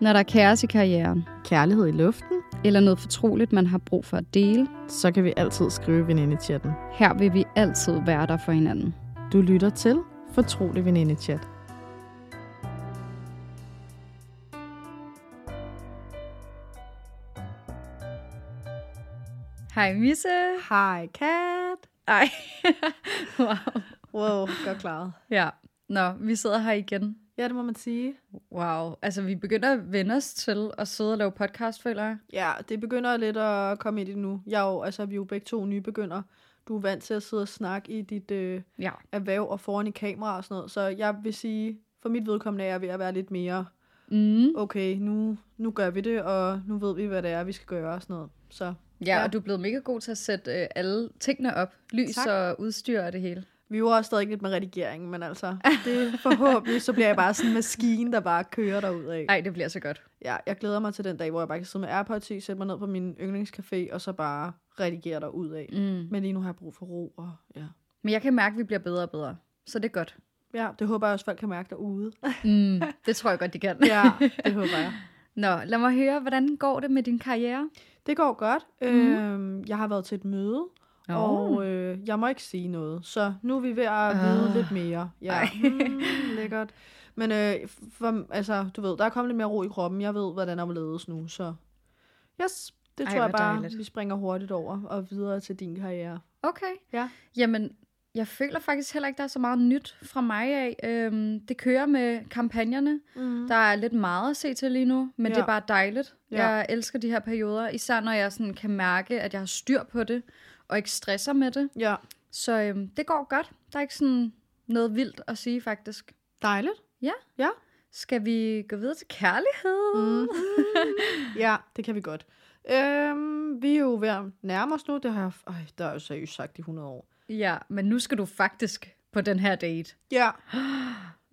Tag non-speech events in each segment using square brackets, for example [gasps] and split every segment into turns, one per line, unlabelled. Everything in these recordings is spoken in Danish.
Når der er kaos i karrieren,
Kærlighed i luften,
eller noget fortroligt, man har brug for at dele,
så kan vi altid skrive i venindechatten.
her vil vi altid være der for hinanden.
Du lytter til Fortrolig Venindechat.
Hej Misse!
Hej, Kat.
Ej, [laughs] wow.
Wow, godt klaret.
Ja, nå, vi sidder her igen.
Ja, det må man sige.
Wow, altså vi begynder at vende os til at sidde og lave podcast, føler jeg.
Ja, det begynder lidt at komme ind i det nu. Jeg er jo, altså, vi er jo begge to nybegynder. Du er vant til at sidde og snakke i dit øh,
Ja.
erhverv og foran i kamera og sådan noget. Så jeg vil sige, for mit vedkommende er jeg ved at være lidt mere,
Mm.
okay, nu, nu gør vi det, og nu ved vi, hvad det er, vi skal gøre og sådan noget. Så
Ja,
Ja.
og du er blevet mega god til at sætte øh, alle tingene op. Lys
Tak.
og udstyr og det hele.
vi er jo også stadig lidt med redigeringen, men altså, det forhåbentlig, så bliver jeg bare sådan en maskine, der bare kører derudad.
Ej, det bliver så godt.
Ja, jeg glæder mig til den dag, hvor jeg bare kan sidde med AirPods i, sætte mig ned på min yndlingscafé, og så bare redigere der ud af.
Mm.
Men lige nu har jeg brug for ro, og ja.
Men jeg kan mærke, at vi bliver bedre og bedre. Så det er godt.
Ja, det håber jeg også, folk kan mærke derude.
Mm. [laughs] Det tror jeg godt, de kan.
[laughs] ja, det håber jeg.
Nå, lad mig høre, hvordan går det med din karriere?
Det går godt. Mm. Øhm, jeg har været til et møde,
Nå.
og øh, jeg må ikke sige noget. Så nu er vi ved at vide
Ah.
lidt mere. Ja,
Ej.
mm, lækkert. Men øh, for, altså, du ved, der er kommet lidt mere ro i kroppen. Jeg ved, hvordan der ledes nu, så yes. Det
Ej,
tror jeg
hvor
bare,
dejligt.
vi springer hurtigt over og videre til din karriere.
Okay.
Ja.
Jamen, jeg føler faktisk heller ikke, der er så meget nyt fra mig af. Øhm, det kører med kampagnerne.
Mm.
Der er lidt meget at se til lige nu, men ja. det
Ja.
er bare dejligt.
Ja.
Ja. Jeg elsker de her perioder, især når jeg sådan kan mærke, at jeg har styr på det, og ikke stresser med det.
Ja,
Så øhm, det går godt. Der er ikke sådan noget vildt at sige, faktisk.
Dejligt.
Skal vi gå videre til kærlighed?
Mm. [laughs] ja, det kan vi godt. Øhm, vi er jo ved at nærme os nu. Det har jeg, øj, det har jeg jo seriøst sagt i 100 år.
Ja, men nu skal du faktisk på den her date. [gasps]
Ja.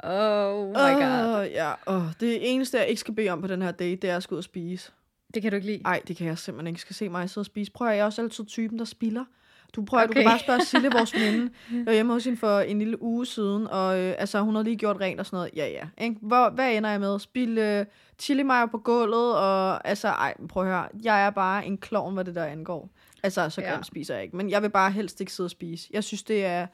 Oh my god.
Åh, ja. Oh, det eneste, jeg ikke skal bede om på den her date, det er at skulle ud og spise.
Det kan du ikke lide.
Nej, det kan jeg simpelthen ikke. Skal se mig sidde og spise. Prøv at høre, jeg er også altid typen, der spiller. Du prøver, okay. du kan
Okay.
bare spørge Sille,
[laughs]
vores veninde. Jeg var hjemme hos hende for en lille uge siden, og øh, altså, hun havde lige gjort rent og sådan noget. Ja, ja. Ikke? Hvor, hvad ender jeg med? Spil øh, chili mayo på gulvet, og altså, ej, men prøv at høre. Jeg er bare en klovn, hvad det der angår. Altså, så
Ja.
grimt spiser jeg ikke, men jeg vil bare helst ikke sidde og spise. Jeg synes, det er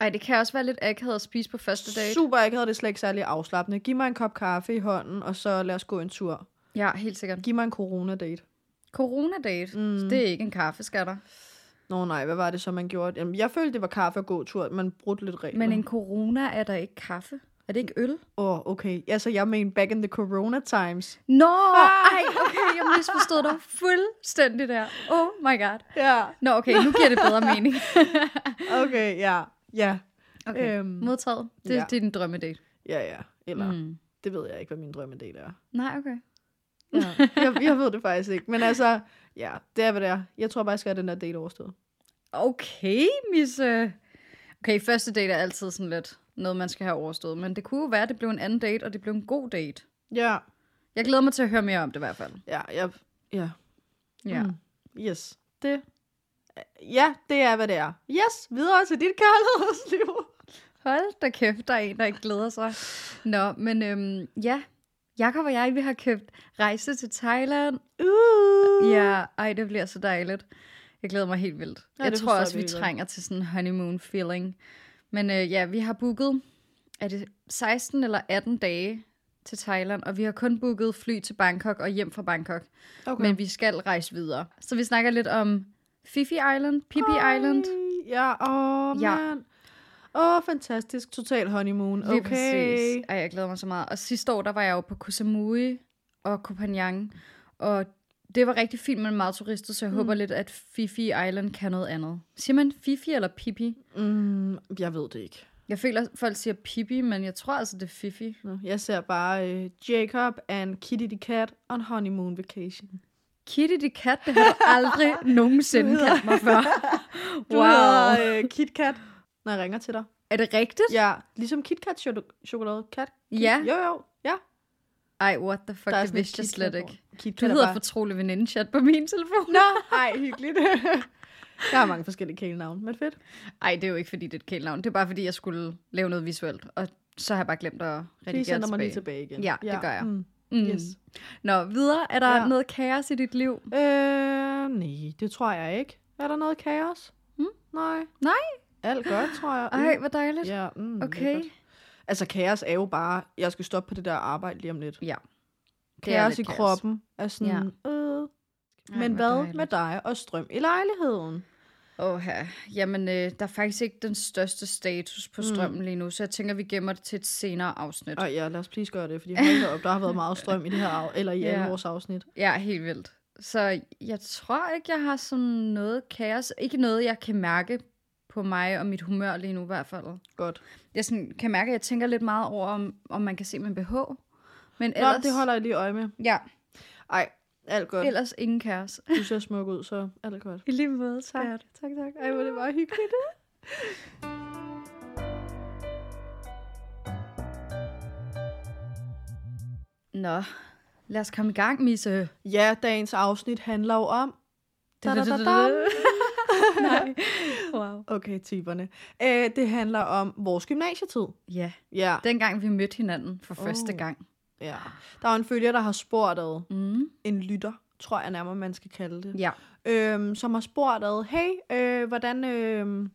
Ej, det kan også være lidt akavet at spise på første date.
super ikke havde det slet ikke særlig afslappende. Giv mig en kop kaffe i hånden, og så lad os gå en tur.
Ja, helt sikkert.
Giv mig en corona-date.
Coronadate,
Mm.
mm. det er ikke en kaffe, skatter.
Nå nej, hvad var det så, man gjorde? Jamen, jeg følte, det var kaffe og god tur, man brudte lidt regler.
Men en corona er der ikke kaffe. Er det ikke øl?
Åh, oh, okay. Altså, jeg mener back in the corona times.
Nå,
Ah!
ej, okay, jeg misforstod dig fuldstændig der. Oh my god.
Ja,
Nå, okay, nu giver det bedre
[laughs]
mening.
okay, ja. Ja,
Okay,
Øhm,
øhm, modtaget. Det,
ja.
ja. det er din drømmedate.
ja, ja. Eller, mm.
Mm.
det ved jeg ikke, hvad min drømmedate er.
Nej, okay.
Ja. [laughs] jeg, jeg ved det faktisk ikke. Men altså, ja, det er, hvad det er. Jeg tror bare, jeg skal have den der date overstået.
Okay, misse. Okay, første date er altid sådan lidt noget, man skal have overstået. Men det kunne jo være, at det blev en anden date, og det blev en god date.
Ja,
Jeg glæder mig til at høre mere om det i hvert fald.
ja, jeg, ja.
Ja.
Mm. Yes. Det. Ja, det er, hvad det er. Yes, videre til dit kærlighedsliv.
Hold da kæft, der er en, der ikke glæder sig. Nå, men øhm, ja, Jakob og jeg, vi har købt rejse til Thailand.
Uh.
Ja, ej, det bliver så dejligt. Jeg glæder mig helt vildt.
Ja,
Ja, jeg
det
tror
forstår jeg
også, vi
virkelig godt.
trænger til sådan en honeymoon feeling. Men øh, ja, vi har booket, er det 16 eller 18 dage til Thailand, og vi har kun booket fly til Bangkok og hjem fra Bangkok.
Okay.
Okay. Men vi skal rejse videre. Så vi snakker lidt om Fifi Island, Phi
Ej,
Island.
Ja, åh, ja.
Ja.
mand. Åh, fantastisk. Total honeymoon.
Lige
Okay.
præcis. Ej, jeg glæder mig så meget. Og sidste år, der var jeg jo på Koh Samui og Koh Phangan, og det var rigtig fint, men meget turistet, så jeg mm. håber lidt, at Fifi Island kan noget andet. Siger man Fifi eller Pippi?
Mm, jeg ved det ikke.
Jeg føler, at folk siger Pippi, men jeg tror altså, det er Fifi.
Nå, Jeg ser bare øh, Jacob and Kitty the Cat on honeymoon vacation.
Kitty the Cat, det
[laughs]
har du aldrig nogensinde
hedder-
kaldt mig før.
[laughs] Du wow. hedder øh, Kit Kat, når jeg ringer til dig.
Er det rigtigt?
Ja, ligesom Kit Kat chok- chokolade. Kat? Kit-
Ja.
Jo, jo. Ja.
Ej, what the fuck,
Der er
det
sådan et
vidste jeg
Kit
slet
Kat
ikke.
over. Kit
Du
Kat er
hedder
bare...
fortrolig veninde-chat på min telefon.
Nå, ej, hyggeligt. [laughs] der er mange forskellige kælenavne, men fedt.
Ej, det er jo ikke, fordi det er et kælenavn. Det er bare, fordi jeg skulle lave noget visuelt, og så har jeg bare glemt at redigere
Lige sender mig lige
tilbage.
tilbage igen.
Ja, det gør jeg.
Mm.
Mm.
Yes.
Nå, videre. Er der
Ja.
ja. noget kaos i dit liv?
Øh, nej, det tror jeg ikke. Er der noget kaos?
Mm?
Nej.
Nej?
Alt godt, tror jeg.
Ej, hvor dejligt.
ja, mm, det er
okay.
godt. Altså, kaos er jo bare, jeg skal stoppe på det der arbejde lige om lidt.
Ja. Det er
Kaos i
lidt kaos.
kroppen er sådan, ja. øh.
Ej,
Men
hvor
hvad
dejligt.
med dig og strøm i lejligheden?
Åh, ja. Jamen, øh, der er faktisk ikke den største status på
Mm.
strømmen lige nu, så jeg tænker, vi gemmer det til et senere afsnit.
Og ja, lad os please gøre det, [laughs] fordi hold da op, der har været meget strøm i det her, af- eller i
Ja.
alle vores afsnit.
Ja, helt vildt. Så jeg tror ikke, jeg har sådan noget kaos. Ikke noget, jeg kan mærke på mig og mit humør lige nu i hvert fald.
Godt.
Jeg sådan, kan mærke, at jeg tænker lidt meget over, om, om man kan se min BH. Men
Nå,
ellers,
det holder jeg lige øje med.
ja,
Ej, alt godt.
ellers ingen kaos.
[laughs] Du ser smuk ud, så alt godt.
I lige måde, tak.
Tak, tak, tak. Ej, hvor det var hyggeligt.
Nå, lad os komme i gang, Misse.
Ja, dagens afsnit handler jo om... Da-da-da-da. [laughs]
Nej. Wow.
Okay, typerne. Øh, det handler om vores gymnasietid.
Ja,
Ja,
dengang vi mødte hinanden for
Oh.
første gang.
ja. Der er jo en følger, der har spurgt ad,
Mm.
en lytter, tror jeg nærmere, man skal kalde det,
Ja.
øhm, som har spurgt ad, hey, øh, hvordan, øh,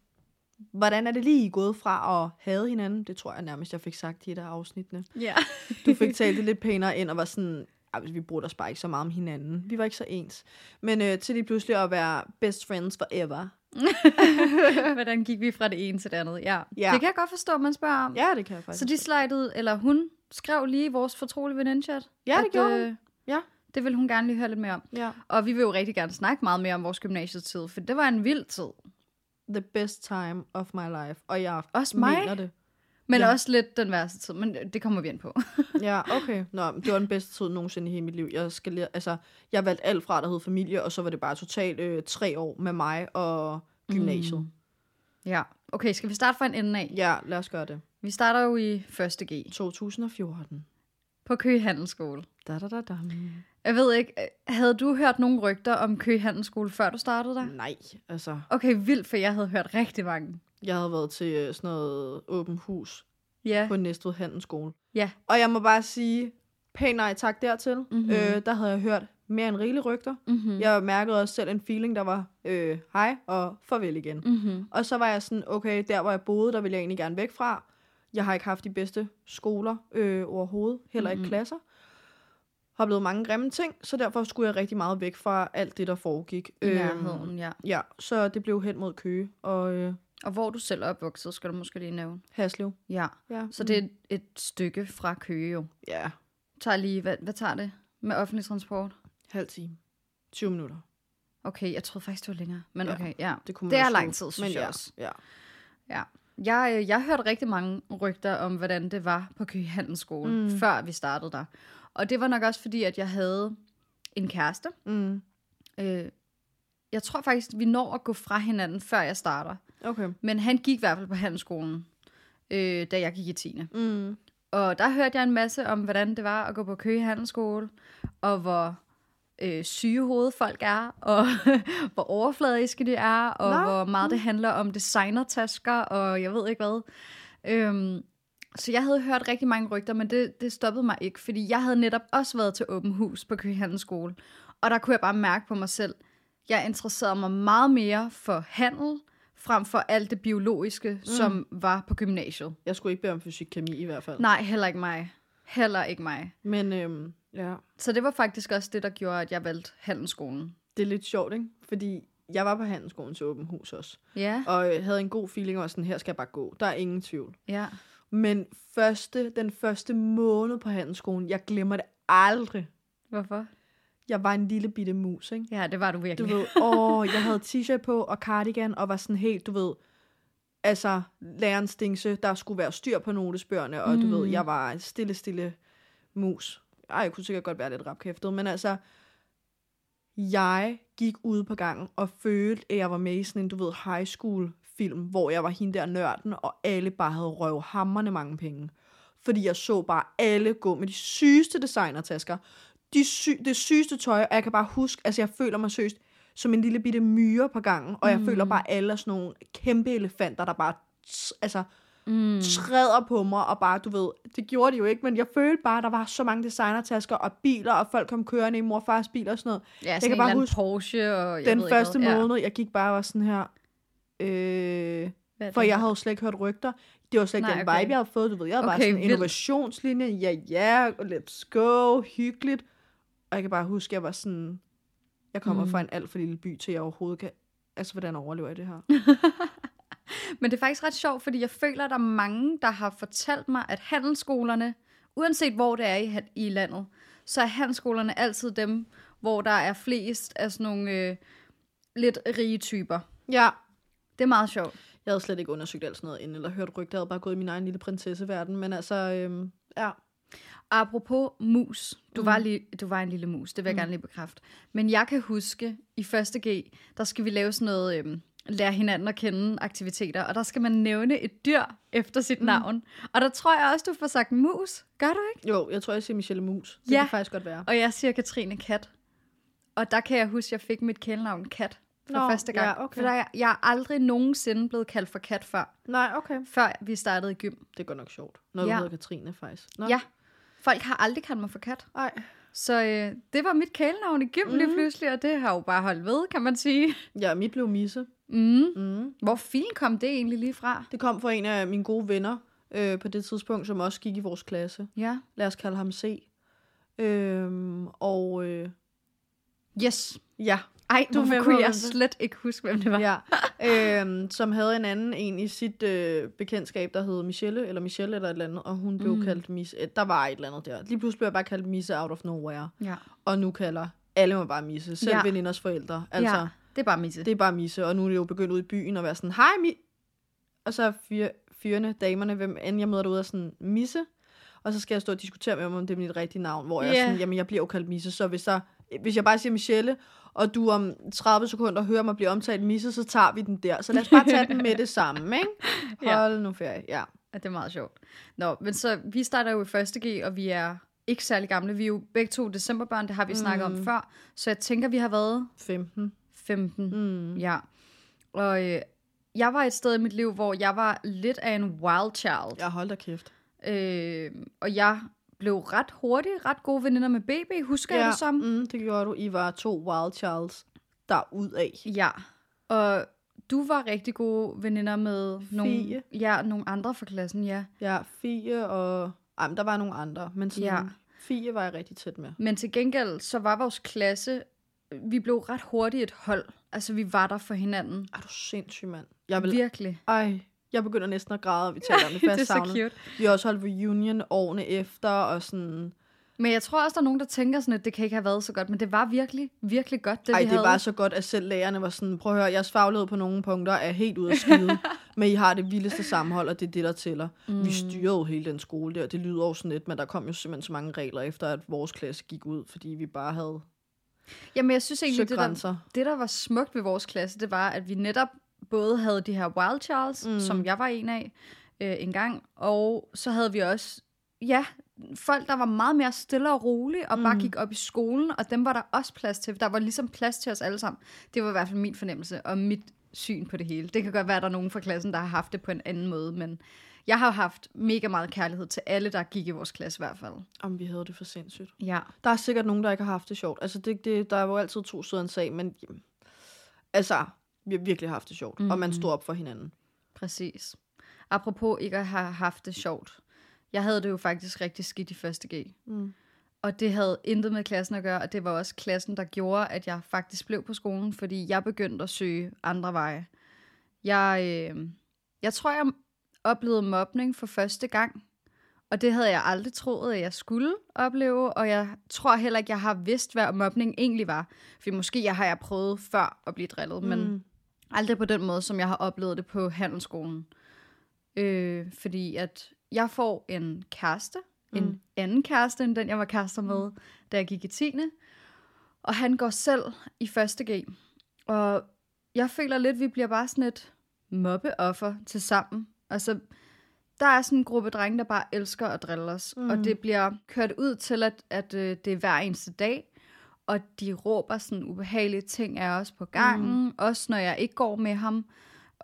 hvordan er det lige gået fra at have hinanden? Det tror jeg nærmest, jeg fik sagt i et af afsnittene.
Ja.
Du fik talt det lidt pænere ind og var sådan, "Ej, vi brugte os bare ikke så meget om hinanden. Vi var ikke så ens. Men øh, til lige pludselig at være best friends forever.
[laughs] Hvordan gik vi fra det ene til det andet? Ja.
Ja.
ja. Det kan jeg godt forstå, at man spørger om.
Ja, det kan jeg faktisk.
Så de slidede, eller hun skrev lige i vores fortrolige venindchat.
Ja, det gjorde hun.
øh,
Ja.
Det vil hun gerne lige høre lidt mere om.
Ja.
Og vi vil jo rigtig gerne snakke meget mere om vores gymnasietid, for det var en vild tid.
The best time of my life. Og jeg
Også mig?
mener det.
Men
Ja.
ja. også lidt den værste tid, men det kommer vi ind på.
Ja, okay. Nå, men det var den bedste tid nogensinde i hele mit liv. Jeg, skal, lære- altså, jeg valgte alt fra, der hed familie, og så var det bare totalt øh, tre år med mig og gymnasiet. Mm.
ja. Okay, skal vi starte fra en ende af?
Ja, lad os gøre det.
Vi starter jo i 1. G
2014.
på Køge Handelsskole.
Da, da, da, da.
Jeg ved ikke, øh, havde du hørt nogle rygter om Køge Handelsskole, før du startede der?
Nej, altså.
Okay, vildt, for jeg havde hørt rigtig mange.
Jeg havde været til øh, sådan noget åben hus
Ja,
på Næstved Handelsskole.
Ja.
Og jeg må bare sige, pænt nej tak dertil. Mm-hmm.
Mhm.
Øh, der havde jeg hørt mere end rigelige rygter.
mm-hmm.
Mm. Jeg mærkede også selv en feeling, der var øh, hej og farvel igen.
Mm-hmm.
Og så var jeg sådan, okay, der hvor jeg boede, der ville jeg egentlig gerne væk fra. Jeg har ikke haft de bedste skoler øh, overhovedet, heller
Mhm.
ikke mm-hmm. klasser. Har blevet mange grimme ting, så derfor skulle jeg rigtig meget væk fra alt det, der foregik. Øhm,
I nærheden, ja.
ja, så det blev hen mod Køge og øh,
Og hvor du selv er opvokset, skal du måske lige nævne.
Haslev.
Ja,
Ja.
så det er et- et stykke fra Køge jo.
Ja,
Tager lige, hvad, hvad tager det med offentlig transport?
halv time. 20 minutter.
Okay, jeg troede faktisk, det var længere. Men
Ja.
okay, ja.
Det, kunne man
Det er
også
lang
nå.
tid, synes
Men
jeg
ja,
også.
Ja.
Jeg, øh, jeg hørte rigtig mange rygter om, hvordan det var på Køge Handelsskole,
Mm.
mm. før vi startede der. Og det var nok også fordi, at jeg havde en kæreste.
Mm.
Øh, jeg tror faktisk, vi når at gå fra hinanden, før jeg starter.
Okay.
Men han gik i hvert fald på handelsskolen, øh, da jeg gik i 10.
Mm.
Og der hørte jeg en masse om, hvordan det var at gå på Køge Handelsskole, og hvor øh, syge hoved folk er, og [laughs] hvor overfladiske de er, og
Nå.
Nå. hvor meget det handler om designertasker, og jeg ved ikke hvad. Øhm, så jeg havde hørt rigtig mange rygter, men det, det stoppede mig ikke, fordi jeg havde netop også været til åben hus på Køge Handelsskole, og der kunne jeg bare mærke på mig selv, jeg interesserede mig meget mere for handel, frem for alt det biologiske, mm. som var på gymnasiet.
Jeg skulle ikke bede om fysik kemi i hvert fald.
Nej, heller ikke mig. Heller ikke mig.
Men øhm, ja.
Så det var faktisk også det, der gjorde, at jeg valgte handelsskolen.
det er lidt sjovt, ikke? Fordi jeg var på handelsskolen til åben hus også.
Ja,
og øh, havde en god feeling og sådan, her skal jeg bare gå. Der er ingen tvivl.
ja.
Men første, den første måned på handelsskolen, jeg glemmer det aldrig.
Hvorfor?
Jeg var en lille bitte mus, ikke?
Ja, det var du
Du
virkelig.
ved, åh, jeg havde t-shirt på og cardigan og var sådan helt, du ved, altså lærerens dingse, der skulle være styr på notesbøgerne, og mm. du ved, jeg var en stille, stille mus. Ej, jeg kunne sikkert godt være lidt rapkæftet, men altså, jeg gik ude på gangen og følte, at jeg var med i sådan en, du ved, high school film, hvor jeg var hende der nørden, og alle bare havde røv hammerne mange penge. Fordi jeg så bare alle gå med de sygeste designertasker, de sy det sygeste tøj, og jeg kan bare huske, altså jeg føler mig søst som en lille bitte myre på gangen, og jeg mm. føler bare alle er sådan nogle kæmpe elefanter, der bare, tss, altså,
Mm.
træder på mig, og bare, du ved, det gjorde de jo ikke, men jeg følte bare, der var så mange designertasker og biler, og folk kom kørende i morfars bil og sådan noget.
Ja, sådan
kan
jeg
bare
kan en huske
huske
Porsche og jeg
Jeg
ved
Den
ikke
første
hvad.
måned, jeg gik bare og var sådan her, øh,
Ja. Hvad er
for
det?
jeg havde jo slet ikke hørt rygter. Det var slet ikke
Nej,
den vibe,
okay.
jeg havde fået, du ved. Jeg havde okay,
Okay,
bare sådan en
vildt.
innovationslinje, ja ja, let's go, hyggeligt. Og jeg kan bare huske, jeg var sådan, jeg kommer
Mm.
mm. fra en alt for lille by, til jeg overhovedet kan, altså hvordan overlever jeg det her?
Men det er faktisk ret sjovt, fordi jeg føler, at der er mange, der har fortalt mig, at handelsskolerne, uanset hvor det er i, han- i landet, så er handelsskolerne altid dem, hvor der er flest af sådan nogle øh, lidt rige typer.
[laughs] ja,
Det er meget sjovt.
jeg havde slet ikke undersøgt alt sådan noget inden, eller hørt rygter, jeg havde bare gået i min egen lille prinsesseverden, men altså, øhm, ja.
Apropos mus. Du,
Mm.
var, lige, du var en lille mus, det vil jeg
Mm.
gerne lige bekræfte. Men jeg kan huske, i 1.G, der skal vi lave sådan noget... Øhm, lære hinanden at kende aktiviteter, og der skal man nævne et dyr efter sit mm. navn. Og der tror jeg også, du får sagt mus. Gør du ikke?
Jo, jeg tror, jeg siger Michelle Mus. Det
Ja.
ja. kan faktisk godt være.
Og jeg siger Katrine Kat. Og der kan jeg huske, at jeg fik mit kælenavn Kat for Nå,
Nå,
første gang.
ja, okay.
For der, er- jeg er aldrig nogensinde blevet kaldt for Kat før,
Nej, okay.
før vi startede i gym.
Det er godt nok sjovt. Når du
Ja.
hedder Katrine, faktisk. Nå.
Ja. Folk har aldrig kaldt mig for Kat.
Ej.
Så øh, det var mit kælenavn i gym mm. lige pludselig, og det har jo bare holdt ved, kan man sige.
Ja, mit blev Misse.
Mm.
Mm.
Hvor filen kom det egentlig lige fra?
Det kom fra en af mine gode venner øh, på det tidspunkt, som også gik i vores klasse.
Ja.
Lad os kalde ham C. Øhm, og øh,
Yes.
ja,
Ej,
Du
du
er med
hvorfor
på,
kunne
hvem
jeg
det er.
slet ikke huske, hvem det var?
ja øhm, som havde en anden en i sit øh, bekendtskab, der hed Michelle, eller Michelle eller et eller andet, og hun blev
Mm.
mm. kaldt Misse. Øh, Der var et eller andet der. Lige pludselig blev jeg bare kaldt Misse out of nowhere.
ja.
Og nu kalder alle mig bare Misse. Selv
Ja.
ja. veninders forældre. Altså,
ja. Det er bare misse.
det er bare misse, og nu er det jo begyndt ud i byen at være sådan, hej mi... Og så er fyre, fyrene, damerne, hvem end jeg møder derude, er sådan, misse. Og så skal jeg stå og diskutere med dem, om det er mit rigtige navn, hvor jeg
Ja.
er sådan, jamen jeg bliver jo kaldt misse, så hvis, der, hvis jeg bare siger Michelle, og du om 30 sekunder hører mig blive omtalt misse, så tager vi den der. Så lad os bare tage den med det samme, ikke?
[laughs] Ja.
Hold nu ferie, ja.
Ja, det er meget sjovt. Nå, men så vi starter jo i 1. G, og vi er ikke særlig gamle. Vi er jo begge to decemberbørn, det har vi mm. snakket om før. Så jeg tænker, vi har været
15.
15. Mm.
Mm.
Ja. Og øh, jeg var et sted i mit liv, hvor jeg var lidt af en wild child.
Ja, hold da kæft.
Ja. Øh, og jeg blev ret hurtigt, ret gode veninder med BB, husker ja. jeg det som.
mm, det gjorde du. I var to wild childs derudad.
Ja. Og du var rigtig gode veninder med nogle,
Fie.
ja, nogle andre fra klassen, ja.
Ja, Fie og... Ej, men der var nogle andre, men sådan,
Ja.
ja. Fie var jeg rigtig tæt med.
Men til gengæld, så var vores klasse, vi blev ret hurtigt et hold. Altså, vi var der for hinanden.
Er du sindssyg, mand? Jeg vil...
Virkelig.
Ej, jeg begynder næsten at græde, og vi taler om
[laughs]
det, for
det er
jeg
så
savner. det.
cute.
Vi har også holdt reunion årene efter, og sådan...
Men jeg tror også, der er nogen, der tænker sådan, at det kan ikke have været så godt. Men det var virkelig, virkelig godt, det
Ej,
vi
det
havde.
var så godt, at selv lærerne var sådan, prøv at høre, jeres faglighed på nogle punkter er helt ude af
[laughs]
skide, men I har det vildeste sammenhold, og det er det, der tæller. Mm. Vi styrede jo hele den skole der, det lyder jo sådan lidt, men der kom jo simpelthen så mange regler efter, at vores klasse gik ud, fordi vi bare havde
Jamen, jeg synes egentlig,
søgt
det der,
grænser.
det der var smukt ved vores klasse, det var, at vi netop både havde de her Wild Charles, mm.
Mm.
som jeg var en af øh, en gang, og så havde vi også, ja, folk, der var meget mere stille og rolige, og mm. bare
Mm.
gik op i skolen, og dem var der også plads til. Der var ligesom plads til os alle sammen. Det var i hvert fald min fornemmelse, og mit syn på det hele. Det kan godt være, at der er nogen fra klassen, der har haft det på en anden måde, men jeg har haft mega meget kærlighed til alle, der gik i vores klasse i hvert fald.
Om vi havde det for sindssygt.
Ja.
Der er sikkert nogen, der ikke har haft det sjovt. Altså, det, det, der er jo altid to sider af en sag, men jamen, altså, vi har virkelig haft det sjovt, mm. og
Mhm.
man stod op for hinanden.
Præcis. Apropos ikke at have haft det sjovt. Jeg havde det jo faktisk rigtig skidt i 1. G.
Mm.
Og det havde intet med klassen at gøre, og det var også klassen, der gjorde, at jeg faktisk blev på skolen, fordi jeg begyndte at søge andre veje. Jeg, øh, jeg tror, jeg oplevede mobning for første gang, og det havde jeg aldrig troet, at jeg skulle opleve, og jeg tror heller ikke, jeg har vidst, hvad mobning egentlig var. For måske jeg har jeg prøvet før at blive drillet, mm. men
Mm.
Aldrig på den måde, som jeg har oplevet det på handelsskolen. Øh, fordi at jeg får en kæreste, mm. en
Mm.
anden kæreste end den, jeg var kærester med, da jeg gik i 10. Og han går selv i 1. G. Og jeg føler lidt, at vi bliver bare sådan et mobbeoffer til sammen. Altså, der er sådan en gruppe drenge, der bare elsker at drille os. Mm. Og
Mm.
det bliver kørt ud til, at, at øh, det er hver eneste dag. Og de råber sådan ubehagelige ting af os på gangen. Mm. Også når jeg ikke går med ham.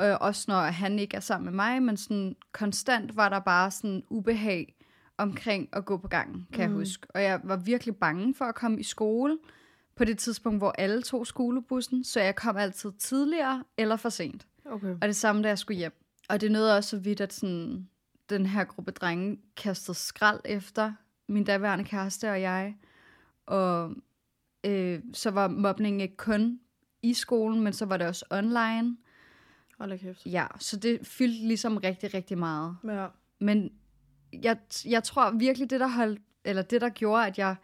Øh, også når han ikke er sammen med mig, men sådan konstant var der bare sådan ubehag omkring at gå på gangen, kan mm. jeg huske. Og jeg var virkelig bange for at komme i skole på det tidspunkt, hvor alle tog skolebussen, så jeg kom altid tidligere eller for sent.
Okay.
Og det samme, da jeg skulle hjem. Og det nåede også så vidt, at sådan, den her gruppe drenge kastede skrald efter min daværende kæreste og jeg. Og øh, så var mobningen ikke kun i skolen, men så var det også online.
Hold da kæft.
Ja, så det fyldte ligesom rigtig, rigtig meget.
Ja.
Men jeg, jeg tror virkelig, det der, holdt, eller det, der gjorde, at jeg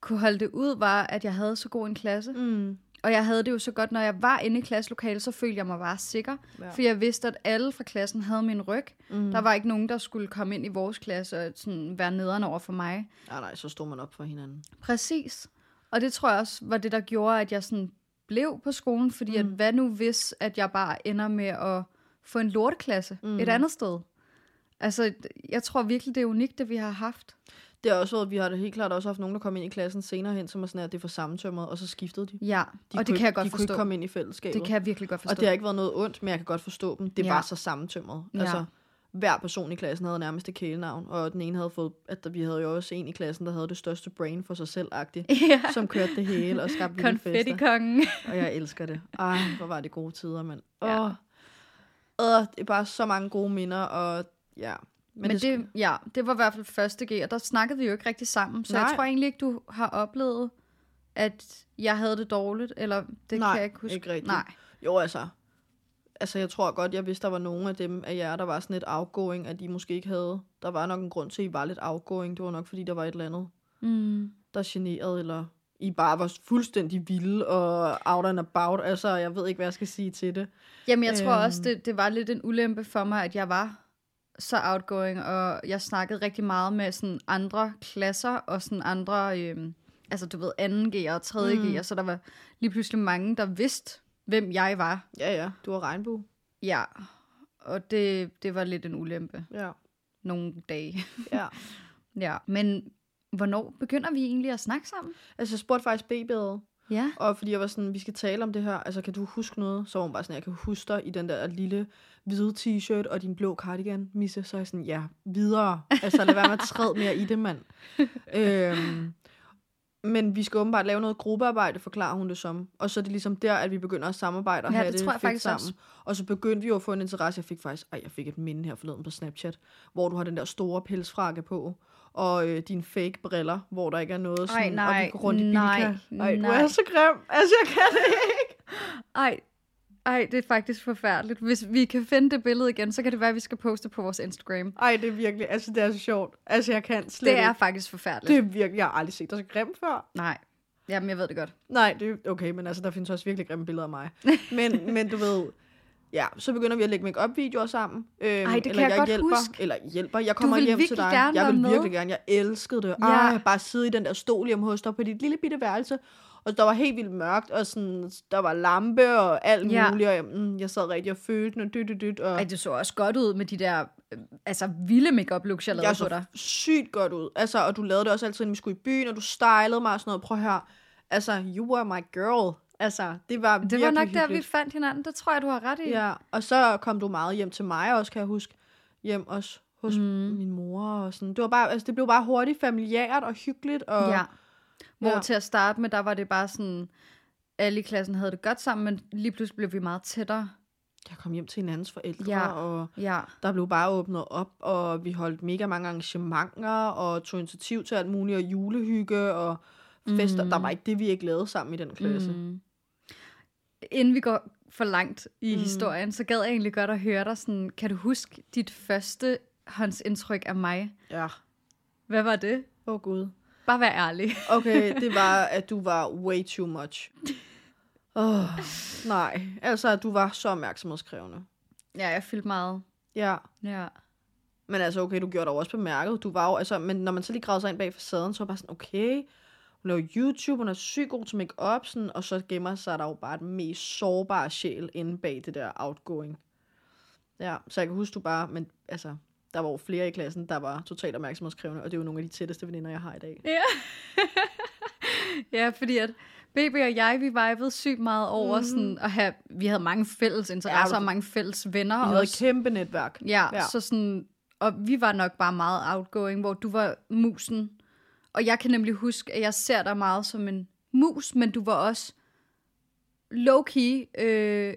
kunne holde det ud, var, at jeg havde så god en klasse.
Mm.
Og jeg havde det jo så godt, når jeg var inde i klasselokalet, så følte jeg mig bare sikker.
Ja.
Ja. For jeg vidste, at alle fra klassen havde min ryg. Mm. Der var ikke nogen, der skulle komme ind i vores klasse og sådan være nederen over for mig.
Ah, nej, så stod man op for hinanden.
Præcis. Og det tror jeg også var det, der gjorde, at jeg sådan blev på skolen. Fordi mm. at hvad nu hvis, at jeg bare ender med at få en lorteklasse mm. et andet sted? Altså, jeg tror virkelig, det er unikt, det vi har haft.
Det har også været, vi har da helt klart også haft nogen, der kom ind i klassen senere hen, som er sådan, at det var sammentømmet, og så skiftede de.
Ja,
de
de og det
kunne,
kan jeg
ikke-
godt
de kunne
forstå.
ikke komme ind i fællesskabet.
Det kan jeg virkelig godt forstå.
Og det har ikke været noget ondt, men jeg kan godt forstå dem. Det ja.
Ja.
var så sammentømret. Ja.
Ja.
Altså, hver person i klassen havde nærmest et kælenavn, og den ene havde fået, at der, vi havde jo også en i klassen, der havde det største brain for sig selv
[laughs] Ja.
som kørte det hele og skabte vilde fester.
Konfettikongen.
Og jeg elsker det. Ej, hvor var det gode tider, mand. Åh,
Ja.
ja. øh, det er bare så mange gode minder, og ja.
Men, Men det, ja, det var i hvert fald første G, og der snakkede vi jo ikke rigtig sammen. Så Nej.
Nej.
jeg tror egentlig ikke, du har oplevet, at jeg havde det dårligt, eller det
Nej,
kan jeg ikke huske.
ikke rigtigt.
Nej,
Jo, altså. Altså, jeg tror godt, jeg vidste, der var nogen af dem af jer, der var sådan lidt outgoing, at I måske ikke havde. Der var nok en grund til, at I var lidt outgoing. Det var nok, fordi der var et eller andet,
mm.
der generede, eller I bare var fuldstændig vilde og out and about. Altså, jeg ved ikke, hvad jeg skal sige til det.
Jamen, jeg tror
Øhm.
også, det, det var lidt en ulempe for mig, at jeg var så outgoing, og jeg snakkede rigtig meget med sådan andre klasser, og sådan andre, øhm, altså du ved, 2G og 3G, mm. så der var lige pludselig mange, der vidste, hvem jeg var.
Ja, ja. Du har regnbue.
Ja, og det, det var lidt en ulempe
Ja.
nogle dage.
ja.
[laughs] Ja, men hvornår begynder vi egentlig at snakke sammen?
Altså, jeg spurgte faktisk BB'et,
Ja.
Og fordi jeg var sådan, vi skal tale om det her, altså kan du huske noget? Så var hun bare sådan, jeg kan huske dig i den der lille hvide t-shirt og din blå cardigan, Misse. Så er jeg sådan, ja, videre. Altså lad være med at træde mere i det,
[laughs]
mand. øhm, men vi skal åbenbart lave noget gruppearbejde, forklarer hun det som. Og så er det ligesom der, at vi begynder at samarbejde og
Ja,
have
det
det,
tror jeg
fedt
faktisk
sammen.
også.
Og så begyndte vi jo at få en interesse. Jeg fik faktisk, ej, jeg fik et minde her forleden på Snapchat, hvor du har den der store pelsfrakke på. Og øh, dine fake briller, hvor der ikke er noget sådan, og vi
nej,
går rundt i
nej,
Bilka. Ej, du
nej.
er så grim. Altså, jeg kan det ikke.
Ej, ej, det er faktisk forfærdeligt. Hvis vi kan finde det billede igen, så kan det være, at vi skal poste på vores Instagram.
Ej, det er virkelig, altså det er så sjovt. Altså, jeg kan slet
Det er
ikke.
faktisk forfærdeligt.
Det
Det...
er virkelig, jeg har aldrig set dig så grim før.
Nej, jamen jeg ved det godt.
Nej, det er okay, men altså, der findes også virkelig grimme billeder af mig.
[laughs]
Men, men du ved, ja, så begynder vi at lægge make videoer sammen. Øhm, Ej,
det kan jeg godt
hjælper,
huske.
Eller hjælper, jeg kommer
ville
hjem til
virkelig
dig.
gerne
jeg
være
vil
med.
virkelig gerne, jeg elskede det.
Ja.
Ej, bare sidde i den der stol hjemme hos dig på dit lille bitte værelse. Og der var helt vildt mørkt, og sådan, der var lampe og alt
Ja.
muligt. Og jeg, mm, jeg sad rigtig og følte den, og dyt, dyt, dyt. Og...
Ej, det så også godt ud med de der, øh, altså vilde makeup looks jeg lavede
jeg
på dig.
så sygt godt ud. Altså, og du lavede det også altid, inden vi skulle i byen, og du stylede mig og sådan noget. Prøv at høre. Altså, you were my girl. Altså, det var
Det var nok der, vi
hyggeligt.
fandt hinanden. Det tror jeg, du har ret i.
Ja, og så kom du meget hjem til mig også, kan jeg huske. Hjem også hos mm. min mor og sådan. Det, var bare, altså, det blev bare hurtigt familiært og hyggeligt. Og,
ja. Hvor
Ja.
til at starte med, der var det bare sådan, alle i klassen havde det godt sammen, men lige pludselig blev vi meget tættere.
Jeg kom hjem til hinandens forældre,
Ja.
og
Ja.
der blev bare åbnet op, og vi holdt mega mange arrangementer, og tog initiativ til alt muligt, og julehygge, og fester. Mm. Der var ikke det, vi ikke lavede sammen i den klasse. Mm.
Mm. Inden vi går for langt i mm. historien, så gad jeg egentlig godt at høre dig sådan, kan du huske dit første håndsindtryk af mig?
Ja.
Hvad var det?
Åh oh, gud.
Bare vær ærlig.
[laughs] Okay, det var, at du var way too [laughs] much. Oh, nej, altså at du var så opmærksomhedskrævende.
ja, jeg fyldte meget.
Ja,
Ja.
men altså okay, du gjorde dig jo også bemærket. Du var jo, altså, men når man så lige gravede sig ind bag facaden, så var jeg bare sådan, okay, hun laver YouTube, hun er sygt god til make-up, sådan, og så gemmer sig der jo bare den mest sårbare sjæl inde bag det der outgoing. Ja, så jeg kan huske, du bare, men altså, der var jo flere i klassen, der var totalt opmærksomhedskrævende, og det er jo nogle af de tætteste veninder, jeg har i dag.
ja. Ja, fordi at BB og jeg, vi vibede sygt meget over mm. sådan at have, vi havde mange fælles interesser ja,
Mhm. Ja,
og
du-
mange fælles venner.
Vi
og
havde et kæmpe netværk.
Ja,
Ja.
ja, så sådan, og vi var nok bare meget outgoing, hvor du var musen. Og jeg kan nemlig huske, at jeg ser dig meget som en mus, men du var også low-key øh,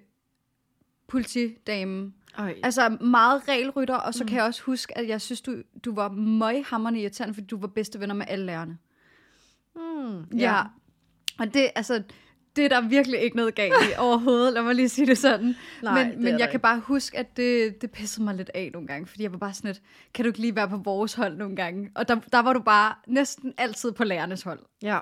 politidame.
Ej.
Altså meget regelrytter, og så mm. kan jeg også huske, at jeg synes, du, du var møghammerende irriterende, fordi du var bedste venner med alle lærerne.
Mm,
Ja. ja. Og det, altså, det er der virkelig ikke noget galt
[laughs]
i overhovedet, lad mig lige sige det sådan.
Nej,
men
det er
men
der
jeg
ikke.
kan bare huske, at det, det pissede mig lidt af nogle gange, fordi jeg var bare sådan lidt, kan du ikke lige være på vores hold nogle gange? Og der, der var du bare næsten altid på lærernes hold.
Ja.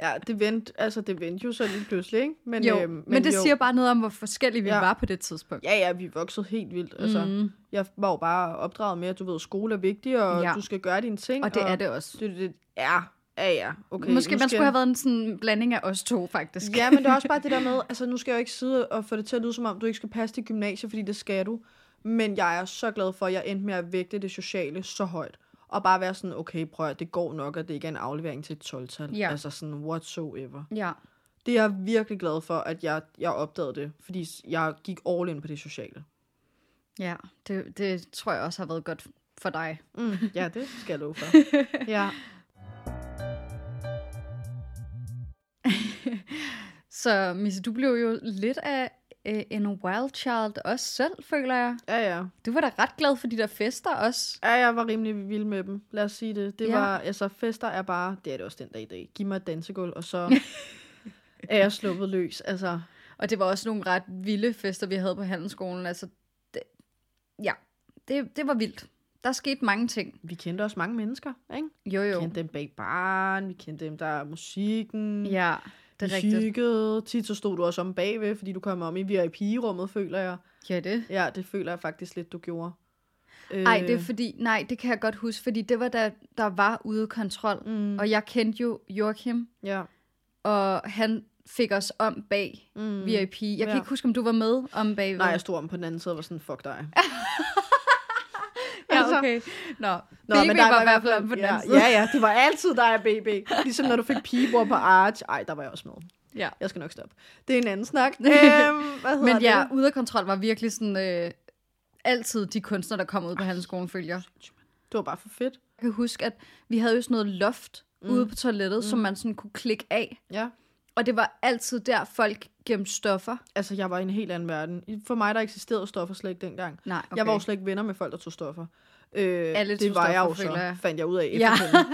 Ja, det vendte, altså det vendte jo så lige pludselig, ikke? Men,
Jo,
øhm,
men, men det
jo.
jo. siger bare noget om, hvor forskellige vi
Ja.
ja. var på det tidspunkt.
Ja, ja, vi voksede helt vildt. Altså, mm. Jeg var jo bare opdraget med, at du ved, skole er vigtig, og ja.
Mhm. Ja.
du skal gøre dine ting.
Og det er det også.
Det, det er, ja, ja. Okay,
Okay, Måske
nu
man
skal-
skulle have været en sådan blanding af os to, faktisk.
Ja, men det er også bare det der med, altså nu skal jeg jo ikke sidde og få det til at lyde som om, du ikke skal passe til gymnasiet, fordi det skal du. Men jeg er så glad for, at jeg endte med at vægte det sociale så højt. Og bare være sådan, okay, prøv at høre, det går nok, og det ikke er en aflevering til et 12-tal.
Ja.
Altså sådan whatsoever.
ja.
Det er jeg virkelig glad for, at jeg, jeg opdagede det, fordi jeg gik all in på det sociale.
ja. Det, det tror jeg også har været godt for dig.
Mm, ja, det skal jeg love for.
[laughs]
ja.
Så Misse, du blev jo lidt af øh, en wild child også selv, føler jeg.
ja, ja.
Du var da ret glad for de der fester også.
Ja, jeg var rimelig vild med dem. Lad os sige det. Det ja.
Ja.
var, altså fester er bare, det er det også den dag i dag. Giv mig et dansegulv, og
[laughs]
så er jeg sluppet løs. Altså,
Og det var også nogle ret vilde fester, vi havde på handelsskolen. Altså, det, ja, det, det var vildt. Der skete mange ting.
vi kendte også mange mennesker, ikke?
Jo,
Vi
jo.
kendte dem bag baren, vi kendte dem, der er musikken.
Ja, det
vi
er rigtigt.
hyggede. Tit så stod du også om bagved, fordi du kom om i VIP-rummet, føler jeg.
Ja, det.
Ja, det føler jeg faktisk lidt, du gjorde. Øh.
Nej, det er fordi, nej, det kan jeg godt huske, fordi det var da, der var ude af kontrol.
Mm.
Mm. Og jeg kendte jo Joachim,
Ja.
og han fik os om bag
Mm.
mm. VIP. Jeg kan
Ja.
ikke huske, om du var med om bag.
Nej, jeg
jeg
stod om på den anden side og var sådan,
[laughs]
fuck dig. Altså,
ja, okay. Altså, Nå, Nå
men der
var i hvert fald om på den
ja,
anden side.
Ja, ja, det var altid dig, baby. Ligesom når du fik pigebord på Arch. Ej, der var jeg også med.
Ja.
Jeg skal nok stoppe. Det er en anden
[laughs]
snak. øhm, hvad hedder
Men ja,
det?
ude af kontrol var virkelig sådan øh, altid de kunstnere, der kom ud på handelsskolen, følger. Jeg
Det var bare for fedt.
kan huske, at vi havde jo sådan noget loft mm. ude på toilettet, mm. som man sådan kunne klikke af.
Ja.
Og det var altid der, folk gemte stoffer.
Altså, jeg var i en helt anden verden. I- For mig, der eksisterede stoffer slet ikke dengang.
Nej,
Okay. Jeg var jo slet ikke venner med folk, der tog stoffer. Øh,
Alle
det
tog
var jeg
stoffer,
jo så,
føler jeg.
fandt jeg ud af
Ja. [laughs]
efterfølgende.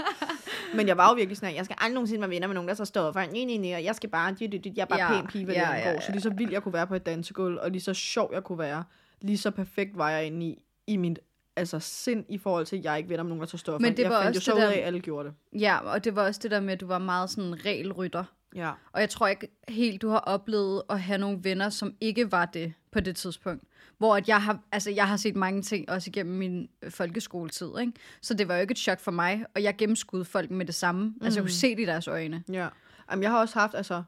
Men jeg var jo virkelig sådan, at jeg skal aldrig nogensinde være venner med nogen, der så står for, nej, nej, nej, og jeg skal bare, dit, dit, dit, jeg er bare ja.
Ja.
pæn pige, hvad
Ja,
ja,
ja,
ja, ja.
ja.
Så lige så vild jeg kunne være på et dansegulv, og lige så sjov jeg kunne være, lige så perfekt var jeg inde i, i min altså sind i forhold til, at jeg ikke venner med nogen, der tager stoffer.
Men det
jeg
var
fandt jo
også
så
det
ud
der-
af, at alle gjorde det.
Ja, og det var også det der med, at du var meget sådan regelrytter.
Ja.
Og jeg tror ikke helt, du har oplevet at have nogle venner, som ikke var det på det tidspunkt. Hvor at jeg, har, altså jeg har set mange ting også igennem min øh, folkeskoletid. Ikke? Så det var jo ikke et chok for mig, og jeg gennemskudde folk med det samme. Mm. Altså jeg kunne se det i deres øjne.
Ja. Jamen, jeg har også haft, altså,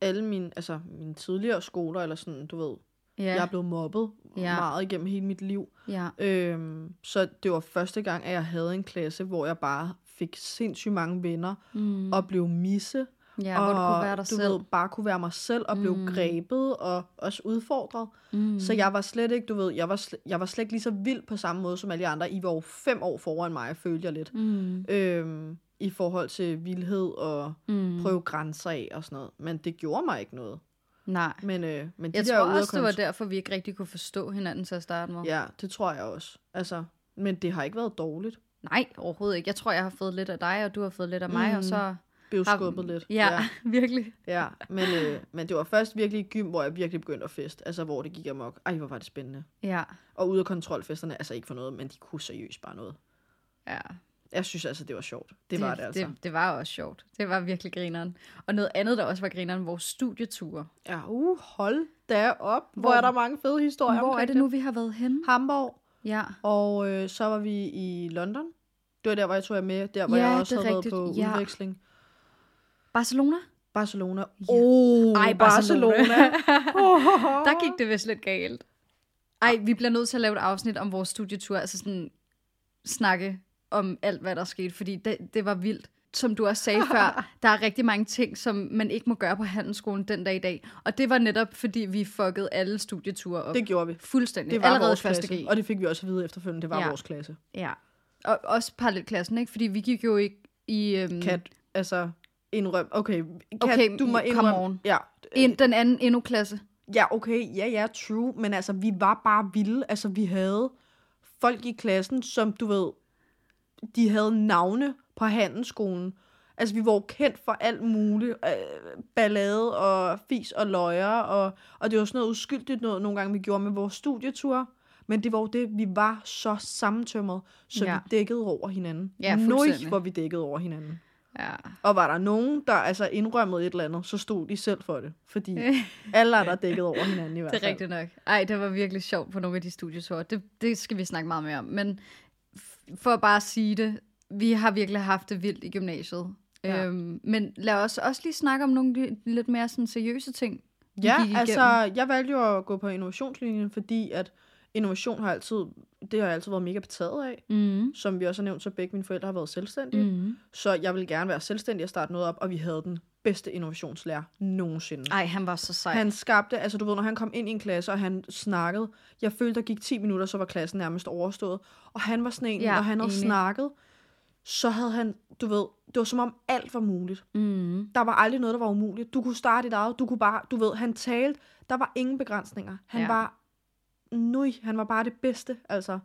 alle mine, altså, mine tidligere skoler, eller sådan, du ved,
Ja,
ja. jeg er blevet mobbet ja.
Ja.
meget igennem hele mit liv.
ja.
Øhm, så det var første gang, at jeg havde en klasse, hvor jeg bare fik sindssygt mange venner mm. og blev misse.
ja
og
hvor du kunne være dig
du
selv. Mm.
Ved, bare kunne være mig selv og blev grebet og også udfordret. Mm. Så jeg var slet ikke, du ved, jeg var, sl- jeg var slet ikke lige så vild på samme måde som alle de andre. I var jo fem år foran mig, følte jeg lidt.
Mm.
Øhm, I forhold til vildhed og
Mm.
prøve grænser af og sådan noget. Men det gjorde mig ikke noget.
Nej.
Men, øh, men de
Jeg
der
tror
ude af
også, det var
kontrol-
derfor, vi ikke rigtig kunne forstå hinanden til at starte med.
Ja, det tror jeg også. Altså, men det har ikke været dårligt.
Nej, overhovedet ikke. Jeg tror, jeg har fået lidt af dig, og du har fået lidt af mig,
Mm.
mm. og så...
Blev
Har-
skubbet lidt.
Ja, ja. [laughs] virkelig.
Ja, men, øh, men det var først virkelig i gym, hvor jeg virkelig begyndte at feste. Altså, hvor det gik amok. Ej, hvor var det spændende.
Ja,
Og ude af kontrolfesterne, altså ikke for noget, men de kunne seriøst bare noget.
ja.
Jeg synes altså, det var sjovt. Det, det var det altså. Det.
det. Det var også sjovt. Det var virkelig grineren. Og noget andet, der også var grineren, vores studieture.
Ja, uh, hold da op. Hvor, hvor
Hvor-
er der mange fede historier
Hvor er
omkring
det nu, vi har været henne?
Hamburg,
Ja.
og øh, så var vi i London. Det var der, hvor jeg tog jer med. Der, hvor
Ja,
jeg også
det er
havde
rigtigt.
været på
Ja.
udveksling.
Barcelona?
Barcelona. Åh, oh,
Ej,
[laughs] Barcelona. oh.
Der gik det vist lidt galt. Ej, vi bliver nødt til at lave et afsnit om vores studietur, altså sådan snakke om alt, hvad der skete, fordi det, det var vildt. som du også sagde
[laughs]
før, der er rigtig mange ting, som man ikke må gøre på handelsskolen den dag i dag. Og det var netop, fordi vi fuckede alle studieture op.
Det gjorde vi.
Fuldstændig.
Det var
Allerede
vores
i første
klasse,
G.
og det fik vi også at vide efterfølgende, det var
Ja.
vores klasse.
Ja. Og også parallelklassen, ikke? Fordi vi gik jo ikke i... Øhm,
Kat, altså indrøm, okay, Kat,
Okay,
du må
come
indrømme.
on.
Ja,
ind, den anden endnu-klasse.
ja, okay, ja, ja, true, men altså, vi var bare vilde, altså, vi havde folk i klassen, som du ved, de havde navne på handelsskolen. Altså, vi var jo kendt for alt muligt. Øh, ballade og fis og løjer. Og, og det var sådan noget uskyldigt noget, nogle gange vi gjorde med vores studietur. Men det var jo det, vi var så sammentømret, så ja.
Ja.
vi dækkede over hinanden.
Ja,
Nøj,
fuldstændig.
hvor vi dækkede over hinanden.
Ja.
Og var der nogen, der altså indrømmede et eller andet, så stod de selv for det.
[laughs]
Fordi alle andre dækkede over hinanden i hvert fald.
Det er rigtigt nok. Ej, det var virkelig sjovt på nogle af de studieture. Det, det skal vi snakke meget mere om. Men f- for at bare sige det, vi har virkelig haft det vildt i gymnasiet.
Ja.
Ja. Øhm, men lad os også lige snakke om nogle li- lidt mere sådan seriøse ting. vi
Ja,
gik
altså, jeg valgte jo at gå på innovationslinjen, fordi at innovation har altid, det har jeg altid været mega betaget af.
Mm.
Som vi også har nævnt, så begge mine forældre har været selvstændige. Mm.
Mm.
Så jeg ville gerne være selvstændig og starte noget op, og vi havde den bedste innovationslærer nogensinde.
Ej, han var så sej. Han...
Han skabte, altså du ved, når han kom ind i en klasse, og han snakkede, jeg følte, der gik 10 minutter, så var klassen nærmest overstået. Og han var sådan en, ja,
Ja,
når han havde
enig.
snakket, så havde han, du ved, det var som om alt var muligt.
Mm.
Der var aldrig noget, der var umuligt. Du kunne starte dit eget, du kunne bare, du ved, han talte, der var ingen begrænsninger. Han ja.
Ja.
var, nøj, han var bare det bedste, altså.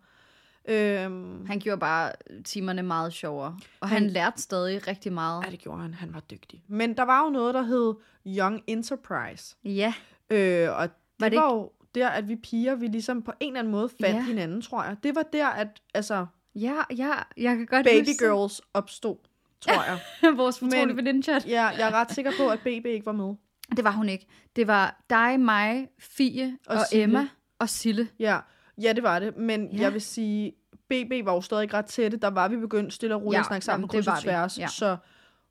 Øhm,
Han gjorde bare timerne meget sjovere. Og han,
Han-
han lærte stadig rigtig meget.
ja, det gjorde han, han var dygtig. Men der var jo noget, der hed Young Enterprise.
Ja,
Øh, og det var,
Var
det
det
var jo der, at vi piger, vi ligesom på en eller anden måde fandt ja.
Ja.
hinanden, tror jeg. Det var der, at altså,
ja, ja. Jeg kan godt
baby
huske
girls opstod, tror jeg.
vores fortrolige
Men-
veninde
ja, jeg er ret sikker på, at BB ikke var med.
Det var hun ikke. Det var dig, mig, Fie
Og
og, og
Sille.
Emma og Sille.
Ja, ja det var det. Men ja.
Ja.
jeg vil sige, BB var jo stadig ret tætte. Der var vi begyndt stille og roligt ja,
Ja,
at snakke sammen
jamen,
på kryds
det
og
var vi,
tværs. Ja.
ja.
Så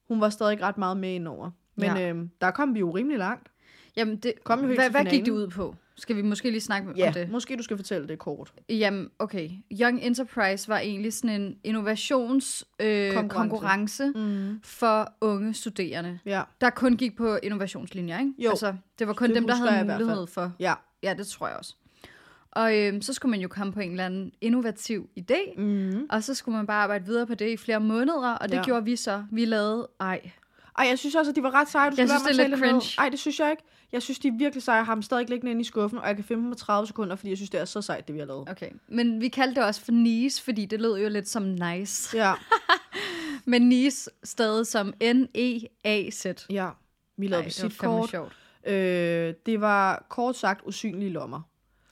hun var stadig ret meget med indover. Men ja.
Ja.
øhm, der kom vi jo rimelig langt.
Jamen, det,
Kom jo helt
hvad,
til
hvad gik det
finalen.
ud på? Skal vi måske lige snakke
Ja,
om det?
måske du skal fortælle det kort.
Jamen, okay. Young Enterprise var egentlig sådan en innovationskonkurrence øh,
Konkurrence.
konkurrence
Mm.
for unge studerende,
Ja,
der kun gik på innovationslinjer, ikke?
Jo.
Altså, det var kun
Det
dem, der
husker jeg
havde
i hvert fald.
mulighed for.
ja.
Ja, det tror jeg også. Og øhm, så skulle man jo komme på en eller anden innovativ idé,
Mm.
og så skulle man bare arbejde videre på det i flere måneder, og det
Ja.
ja. gjorde vi så. Vi lavede, ej,
Ej, jeg synes også, at de var ret seje. Du
Jeg
skal
synes,
lade
det er
mig
lidt
tale ned.
cringe.
Ej, det synes jeg ikke. Jeg synes, de er virkelig seje. Jeg har dem stadig liggende inde i skuffen, og jeg kan finde dem på 30 sekunder, fordi jeg synes, det er så sejt, det vi har lavet.
Okay, men vi kaldte det også for Nice, fordi det lød jo lidt som nice.
Ja,
Men Nice stadig som N-E-A-Z.
ja. Vi
Ej,
lavede
det var fandme
visitkort.
sjovt.
Øh, det var kort sagt usynlige
[laughs]
lommer.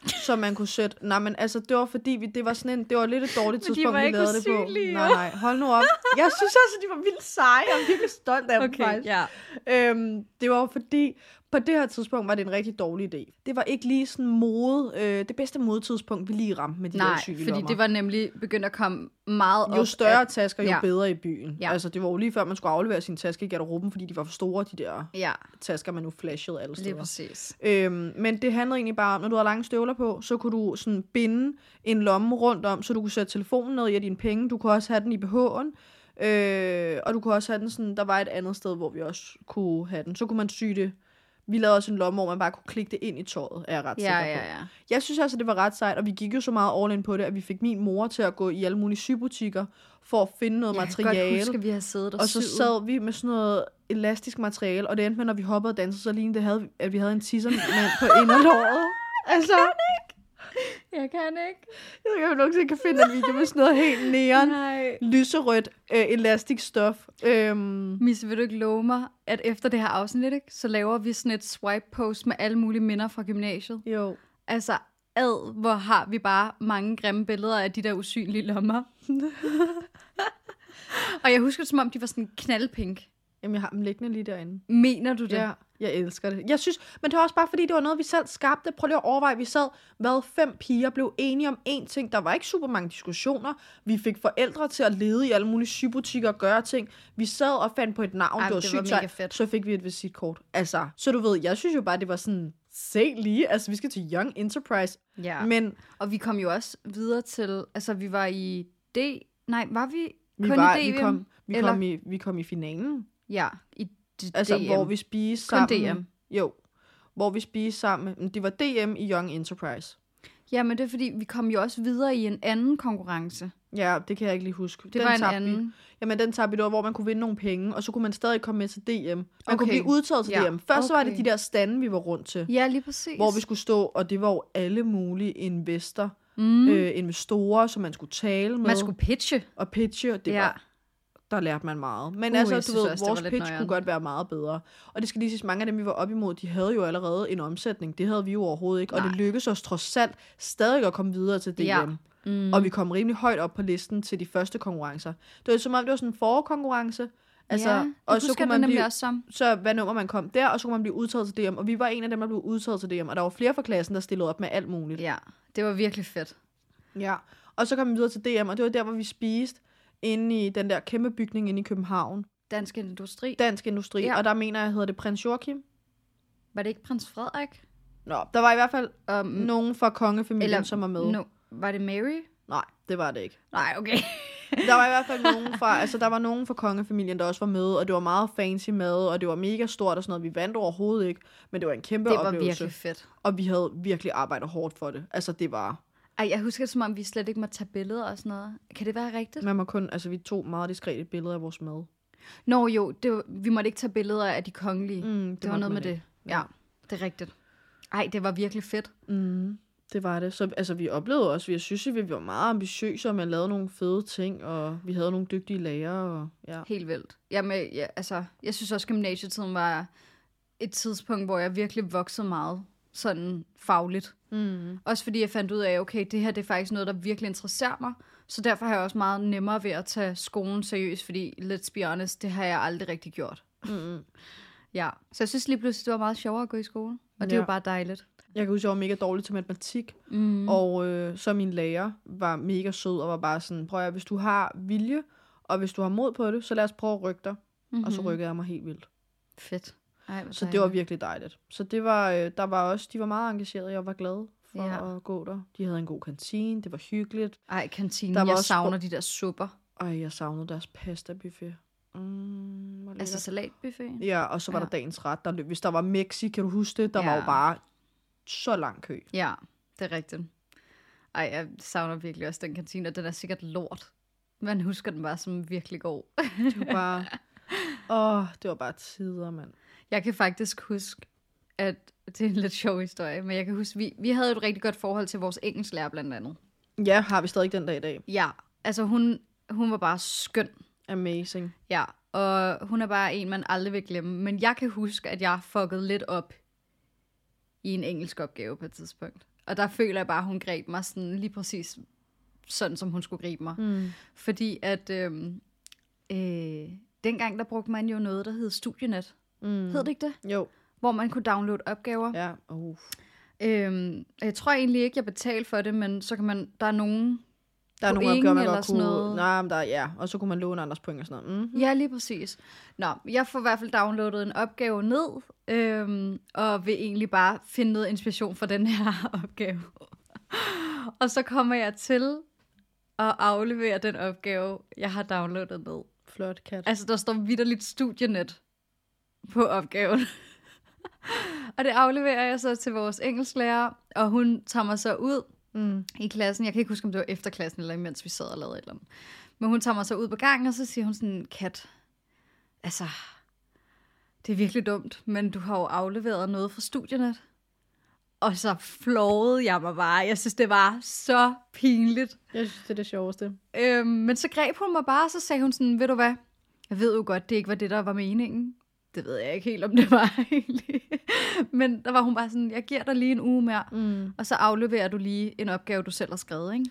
Så man kunne sætte... Nej, men altså, det var fordi, vi, det var sådan en... Det var lidt et dårligt
Men de
tidspunkt,
var
vi
ikke
lavede det på.
usynlige,
Nej,
jo.
nej, hold nu op. Jeg synes altså, de var vildt seje. Jeg er virkelig stolt af dem, faktisk.
Okay, ja.
Øhm, det var jo fordi, på det her tidspunkt var det en rigtig dårlig idé. Det var ikke lige sådan mode, øh, det bedste modetidspunkt, vi lige ramte med de der
Nej,
cykelommer.
fordi det var nemlig begyndt at komme meget op.
Jo større
Af,
tasker, jo
Ja.
bedre i byen. Ja.
Ja.
Altså, det var jo lige før, man skulle aflevere sine tasker i garderoben, fordi de var for store, de der
ja,
tasker, man nu flashede alle
lige
steder.
præcis.
Øhm, men det handlede egentlig bare om, når du havde lange støvler på, så kunne du sådan binde en lomme rundt om, så du kunne sætte telefonen ned i af dine penge. Du kunne også have den i BH'en. Øh, og du kunne også have den sådan, der var et andet sted, hvor vi også kunne have den. Så kunne man sy det. Vi lavede også en lomme, hvor man bare kunne klikke det ind i tøjet, er jeg ret
Ja,
sikker på.
ja, ja.
Jeg synes altså, det var ret sejt, og vi gik jo så meget all in på det, at vi fik min mor til at gå i alle mulige sybutikker for at finde noget
Jeg kan godt
materiale.
huske, at vi har siddet og,
Og så
syet.
sad vi med sådan noget elastisk materiale, og det endte med, når vi hoppede og dansede, så lignede det, havde, at vi havde en tissermand på inderlåret. Altså,
Jeg kan ikke.
jeg ved ikke, om jeg nogensinde kan finde en video med sådan noget helt neon,
Nej.
lyserødt, øh, elastisk stof. Øhm,
Misse, vil du ikke love mig, at efter det her afsnit, ikke, så laver vi sådan et swipe-post med alle mulige minder fra gymnasiet?
jo.
Altså, ad, hvor har vi bare mange grimme billeder af de der usynlige
[laughs]
lommer. og jeg husker, det, som om de var sådan knaldpink.
Jamen, jeg har dem liggende lige derinde.
Mener du det?
Ja, jeg elsker det. Jeg synes, men det var også bare, fordi det var noget, vi selv skabte. Prøv lige at overveje, vi sad, hvad fem piger blev enige om én ting. Der var ikke super mange diskussioner. Vi fik forældre til at lede i alle mulige sybutikker og gøre ting. Vi sad og fandt på et navn,
Ej,
det var,
men det
sygt
var
sejt.
mega fedt.
Så fik vi et visitkort. Altså, så du ved, jeg synes jo bare, det var sådan, se lige, altså vi skal til Young Enterprise.
ja.
Men
Og vi kom jo også videre til, altså vi var i D, nej, var vi?
Vi,
Kun i
var, vi,
DM,
kom, vi,
eller?
kom i, vi kom i finalen.
Ja, i d-
Altså,
DM.
hvor vi spiste
Kun
sammen.
DM.
Jo, hvor vi spiste sammen. Men Det var DM i Young Enterprise.
Ja, men det er fordi, vi kom jo også videre i en anden konkurrence.
Ja, det kan jeg ikke lige huske.
Det var en
tabte Vi.
anden.
Jamen, den tabte vi, det var, hvor man kunne vinde nogle penge, og så kunne man stadig komme med til DM. Man okay.
Okay.
kunne blive udtaget til
Ja,
ja. DM. Først okay. så var det
okay.
de der stande, vi var rundt til,
Ja, lige præcis.
hvor vi skulle stå, og det var jo alle mulige investor,
mm,
mm.
øh,
øh, investorer, som man skulle tale med
man skulle pitche.
og pitche, og det
ja.
ja. var, der lærte man meget. Men
Uh,
uh,
jeg
altså,
synes
du ved,
også, det
vores
var lidt
pitch
noieren.
kunne godt være meget bedre. Og det skal lige siges, mange af dem, vi var op imod, de havde jo allerede en omsætning. Det havde vi jo overhovedet ikke, og
Nej.
det lykkedes os trods alt stadig at komme videre til DM.
Ja.
Ja.
Mm.
Mm. Og vi kom rimelig højt op på listen til de første konkurrencer. Det var som om, det var sådan en forkonkurrence. Altså,
ja, det
og så
husker
kunne
jeg det
man
nemlig
blive,
også som.
så hvad nummer man kom der, og så kunne man blive udtaget til DM. Og vi var en af dem, der blev udtaget til DM. Og der var flere fra klassen, der stillede op med alt muligt.
Ja, det var virkelig fedt.
Ja, og så kom vi videre til DM, og det var der, hvor vi spiste inde i den der kæmpe bygning inde i København.
Dansk Industri.
Dansk Industri,
Ja.
ja. og der mener jeg, hedder det Prins Joachim.
Var det ikke prins Frederik?
Nå, der var i hvert fald
Um,
nogen fra kongefamilien,
Eller-
Eller, som var med.
no, var det Mary?
Nej, det var det ikke.
Nej, okay.
Der var i hvert fald nogen fra, altså der var nogen fra kongefamilien, der også var med, og det var meget fancy mad, og det var mega stort og sådan noget. Vi vandt overhovedet ikke, men det var en kæmpe
Det var
oplevelse.
virkelig fedt.
Og vi havde virkelig arbejdet hårdt for det. Altså det var,
Ej, jeg husker det, som om vi slet ikke må tage billeder og sådan noget. Kan det være rigtigt?
man må kun, altså vi tog meget diskrete billeder af vores mad.
Nå jo, det var, vi måtte ikke tage billeder af de kongelige. Mm, det, det var
måtte
noget med
man
det. Ja, det er rigtigt. Ej, det var virkelig fedt.
Mm, det var det. Så altså, vi oplevede også, vi jeg synes, at vi var meget ambitiøse, og man lavede nogle fede ting, og vi havde nogle dygtige lærere. Og, ja.
Helt vildt. Jamen, ja, altså, jeg synes også, gymnasietiden var et tidspunkt, hvor jeg virkelig voksede meget sådan fagligt.
Mm.
Også fordi jeg fandt ud af, okay, det her det er faktisk noget, der virkelig interesserer mig. Så derfor har jeg også meget nemmere ved at tage skolen seriøst, fordi let's be honest, det har jeg aldrig rigtig gjort.
Mm.
Ja. Så jeg synes lige pludselig, det var meget sjovere at gå i skole. Og det er
Ja.
jo bare dejligt.
Jeg kan huske, at jeg var mega dårlig til matematik,
Mm.
mm. og øh, så min lærer var mega sød og var bare sådan, prøv at høre, hvis du har vilje, og hvis du har mod på det, så lad os prøve at rykke dig. Mm-hmm.
Mm-hmm.
Og så rykkede jeg mig helt vildt.
Fedt. Ej, hvor
Så det var
dejligt.
virkelig dejligt. Så det var, øh, der var også, de var meget engagerede, jeg var glad for
Ja.
ja. at gå der. De havde en god kantine, det var hyggeligt.
Ej, kantinen,
Der var
jeg
også
savner de der supper.
Ej, jeg savnede deres pasta buffet. Mm, hvor
Altså
lækkert.
salatbuffeten.
Ja, og så var
Ja.
ja. der dagens ret. Der, løb- hvis der var Mexi, kan du huske det? Der ja. var
Ja.
jo bare så lang kø.
Ja, det er rigtigt. Ej, jeg savner virkelig også den kantine, og den er sikkert lort. Man husker den bare som virkelig god.
Det var
[laughs]
bare... Åh, oh, det var bare tider, mand.
Jeg kan faktisk huske, at [laughs] det er en lidt sjov historie, men jeg kan huske, vi, vi havde et rigtig godt forhold til vores engelsklærer blandt andet.
Ja, har vi stadig den dag i dag.
Ja, altså hun, hun var bare skøn.
Amazing.
Ja, og hun er bare en, man aldrig vil glemme. Men jeg kan huske, at jeg fuckede lidt op i en engelsk opgave på et tidspunkt. Og der føler jeg bare, at hun greb mig sådan lige præcis sådan, som hun skulle gribe mig.
Mm.
Fordi at øhm, øh, dengang, der brugte man jo noget, der hed Studienet.
Mm.
Hed det ikke det?
Jo,
Hvor man kunne downloade opgaver. Ja.
ja. Uh.
Øhm, og jeg tror egentlig ikke, jeg betalte for det, men så kan man, der er nogen...
Der er nogle
Point
opgaver, man
eller
godt
sådan
kunne...
noget.
Noget. Nej, men der, ja. Og så kunne man låne andres point og sådan noget. Mm.
Ja, lige præcis. Nå, jeg får i hvert fald downloadet en opgave ned, øhm, og vil egentlig bare finde noget inspiration for den her [laughs] opgave. og så kommer jeg til at aflevere den opgave, jeg har downloadet ned.
Flot kat.
Altså, der står vidderligt studienet på opgaven. [laughs] og det afleverer jeg så til vores engelsklærer, og hun tager mig så ud
Mm.
i klassen. Jeg kan ikke huske, om det var efter klassen, eller imens vi sad og lavede et eller andet. Men hun tager mig så ud på gangen, og så siger hun sådan, Kat, altså, det er virkelig dumt, men du har jo afleveret noget fra studienet. Og så flåede jeg mig bare. Jeg synes, det var så pinligt.
Jeg synes, det er det sjoveste.
Øhm, men så greb hun mig bare, og så sagde hun sådan, ved du hvad, jeg ved jo godt, det ikke var det, der var meningen. Det ved jeg ikke helt, om det var [laughs] egentlig. Men der var hun bare sådan, jeg giver dig lige en uge mere,
Mm.
og så afleverer du lige en opgave, du selv har skrevet, ikke?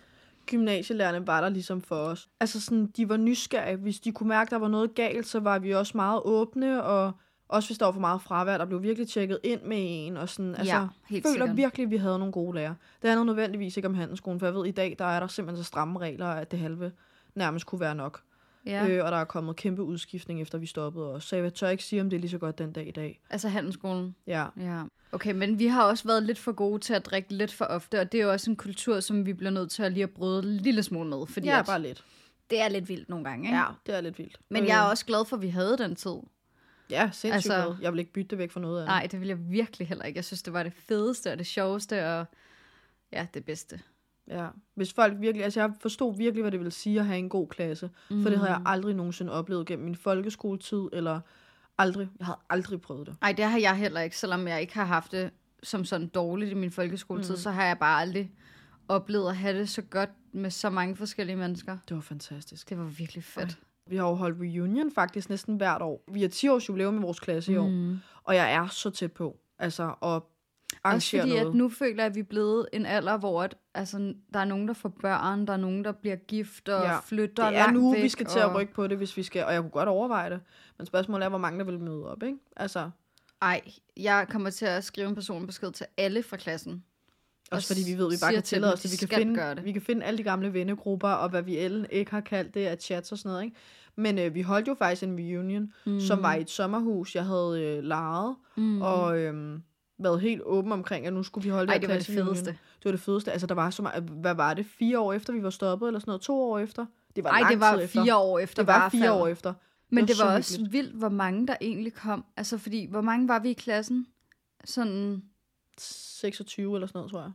Gymnasielærerne var der ligesom for os. Altså sådan, de var nysgerrige. Hvis de kunne mærke, der var noget galt, så var vi også meget åbne, og også hvis der var for meget fravær, der blev virkelig tjekket ind med en, og sådan, altså,
Ja, helt
føler
sikkert.
virkelig, at vi havde nogle gode lærere. Det handlede nødvendigvis ikke om handelsskolen, for jeg ved, i dag, der er der simpelthen så stramme regler, at det halve nærmest kunne være nok.
Ja, øh.
Øh, og der er kommet kæmpe udskiftning, efter vi stoppede også. Så jeg tør ikke sige, om det er lige så godt den dag i dag.
altså handelsskolen.
Ja,
Ja. Okay, men vi har også været lidt for gode til at drikke lidt for ofte, og det er jo også en kultur, som vi bliver nødt til at lige at bryde en lille smule med, fordi
ja
at
bare lidt.
Det er lidt vildt nogle gange, ikke?
Ja, Øh. det er lidt vildt.
Men jeg er også glad for, at vi havde den tid.
Ja, sindssygt
Altså-
altså... Jeg vil ikke bytte det væk for noget andet.
Nej, det ville jeg virkelig heller ikke. Jeg synes, det var det fedeste og det sjoveste og ja, det bedste.
Ja. Hvis folk virkelig, altså jeg forstod virkelig, hvad det ville sige at have en god klasse. Mm. For det havde jeg aldrig nogensinde oplevet gennem min folkeskoletid, eller aldrig, jeg havde aldrig prøvet det.
Ej, det har jeg heller ikke, selvom jeg ikke har haft det som sådan dårligt i min folkeskoletid, mm. så har jeg bare aldrig oplevet at have det så godt med så mange forskellige mennesker.
Det var fantastisk.
Det var virkelig fedt.
Vi har jo holdt reunion faktisk næsten hvert år. Vi har 10 års jubilæum i vores klasse i år, mm. og jeg er så tæt på, altså at
Også
arrangere
fordi,
noget.
at nu føler jeg, at vi er blevet en alder, hvor at, altså, der er nogen, der får børn, der er nogen, der bliver gift og ja. flytter
det er
langt
nu,
væk,
vi skal til at
og-
rykke på det, hvis vi skal, og jeg kunne godt overveje det. Men spørgsmålet er, hvor mange der vil møde op, ikke? Altså,
Ej, jeg kommer til at skrive en personbesked til alle fra klassen.
også fordi vi ved, at vi bare
siger
kan
til
tillade
dem,
os det.
de
Vi kan,
skal
finde,
gøre det.
vi kan finde alle de gamle vennegrupper, og hvad vi ellen ikke har kaldt det, af chats og sådan noget, ikke? Men øh, vi holdt jo faktisk en reunion, mm. som var i et sommerhus, jeg havde øh, lejet, mm. og øh, været helt åben omkring, at nu skulle vi holde
Ej,
her
det var det
klassereunion.
fedeste.
Det var det fedeste. Altså, der var så meget, hvad var det, fire år efter, vi var stoppet, eller sådan noget, to år efter? Det var
Nej,
lang
det var
tid efter.
fire år efter.
Det var
i
fire
hvert
år
fald.
efter.
Men det
så
var, det var
hyggeligt.
også vildt, hvor mange der egentlig kom. Altså, fordi, hvor mange var vi i klassen? Sådan,
26 eller sådan noget, tror jeg.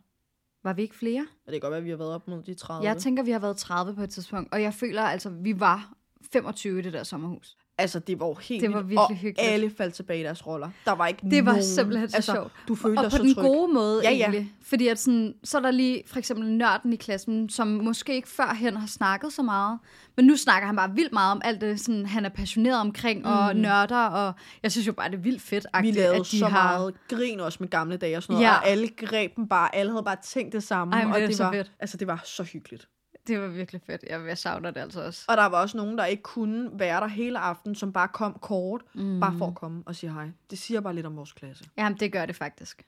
var vi ikke flere?
Og det kan godt være, at vi har været op mod de 30.
Jeg tænker, vi har været 30 på et tidspunkt, og jeg føler altså, vi var 25 i det der sommerhus.
altså, det var jo helt
Det var
vildt,
virkelig
og
hyggeligt.
alle faldt tilbage i deres roller. Der var ikke
Det var
nogen.
simpelthen så
altså,
sjovt.
Du følte
og
dig
på
så
den
tryg.
gode måde
Ja,
ja,
ja.
ja. egentlig. Fordi at sådan, så er der lige for eksempel nørden i klassen, som måske ikke førhen har snakket så meget. Men nu snakker han bare vildt meget om alt det, sådan, han er passioneret omkring, mm. og nørder. Og jeg synes jo bare, det er vildt fedt,
Vi lavede
at de
så
har...
meget grin også med gamle dage og sådan noget. Ja.
Ja.
Og alle greb dem bare. Alle havde bare tænkt det samme.
Ej, men
og
det er så
var,
fedt.
Altså, det var så hyggeligt.
Det var virkelig fedt. Jeg, jeg savner det altså også.
Og der var også nogen, der ikke kunne være der hele aften, som bare kom kort, mm. bare for at komme og sige hej. Det siger bare lidt om vores klasse.
Jamen, det gør det faktisk.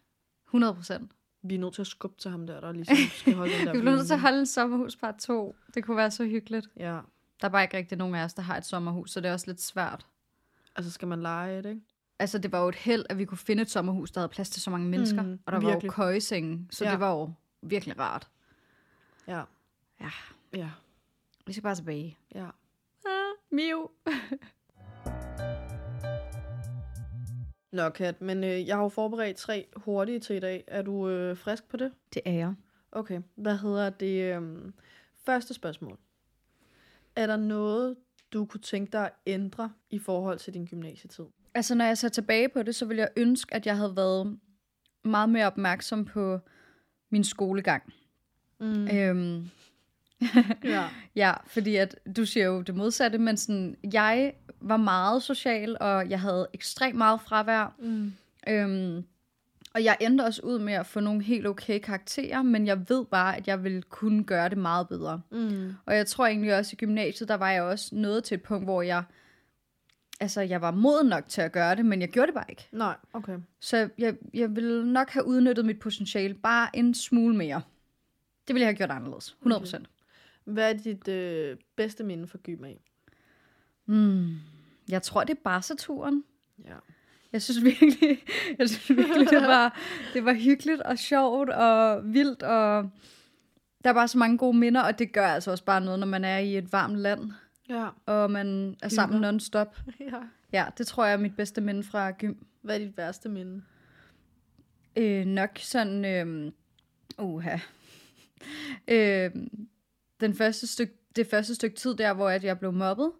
100 procent.
Vi er nødt til at skubbe til ham der, der ligesom skal holde
[laughs]
den der.
Vi bliver nødt til at
reunion.
holde en sommerhus part 2. Det kunne være så hyggeligt.
Ja,
Der er bare ikke rigtig nogen af os, der har et sommerhus, så det er også lidt svært.
altså skal man lege det, ikke?
Altså, det var jo et held, at vi kunne finde et sommerhus, der havde plads til så mange mennesker.
Mm,
Mm, og der var
virkelig.
jo køjesenge, så
Ja.
ja. det var jo virkelig rart.
Ja,
Ja,
ja,
vi skal bare tilbage.
ja.
Ah, Miu.
Nå, Kat, men øh, jeg har jo forberedt tre hurtige til i dag. Er du øh, frisk på det?
Det er jeg.
Okay, hvad hedder det? Øh, første spørgsmål. Er der noget, du kunne tænke dig at ændre i forhold til din gymnasietid?
Altså, når jeg ser tilbage på det, så ville jeg ønske, at jeg havde været meget mere opmærksom på min skolegang.
Mm.
Øhm,
Ja.
Ja, fordi at du siger jo det modsatte, men sådan, jeg var meget social, og jeg havde ekstremt meget fravær.
[laughs] Mm.
Øhm, og jeg endte også ud med at få nogle helt okay karakterer, men jeg ved bare, at jeg ville kunne gøre det meget bedre.
Mm.
Og jeg tror egentlig også, i gymnasiet, der var jeg også nået til et punkt, hvor jeg, altså, jeg var moden nok til at gøre det, men jeg gjorde det bare ikke.
Nej, okay.
Så jeg, jeg ville nok have udnyttet mit potentiale bare en smule mere. Det ville jeg have gjort anderledes, 100%. Okay.
Hvad er dit øh, bedste minde for gym af?
Mm. Jeg tror, det er Barca-turen.
Ja.
Jeg synes virkelig, [laughs] jeg synes virkelig det, var, det var hyggeligt og sjovt og vildt, og der er bare så mange gode minder, og det gør altså også bare noget, når man er i et varmt land,
Ja. [laughs]
og man er sammen
Hygger.
non-stop.
ja.
Ja, det tror jeg er mit bedste minde fra gym.
Hvad er dit værste minde?
Øh, nok sådan, øh, uha. Øh, den første stykke, det første stykke tid der, hvor at jeg blev mobbet.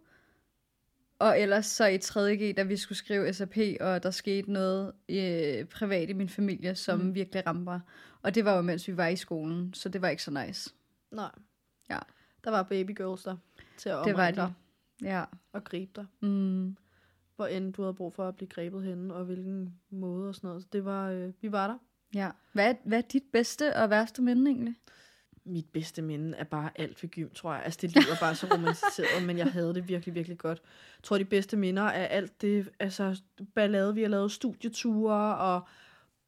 Og ellers så i 3.G, da vi skulle skrive SAP, og der skete noget øh, privat i min familie, som
Mm.
mm. virkelig ramte mig. Og det var jo, mens vi var i skolen, så det var ikke så nice.
Nej.
Ja.
Der var babygirls der til at
det var
omringe
det.
dig
Ja.
og gribe dig.
Mm.
hvor end du havde brug for at blive grebet henne, og hvilken måde og sådan noget. Så det var, øh, vi var der.
ja. Hvad, er- hvad er dit bedste og værste minde egentlig?
Mit bedste minde er bare alt ved gym, tror jeg. Altså, det lyder [laughs] bare så romantiseret, men jeg havde det virkelig, virkelig godt. Jeg tror, de bedste minder er alt det, altså, ballade, vi har lavet, studieture, og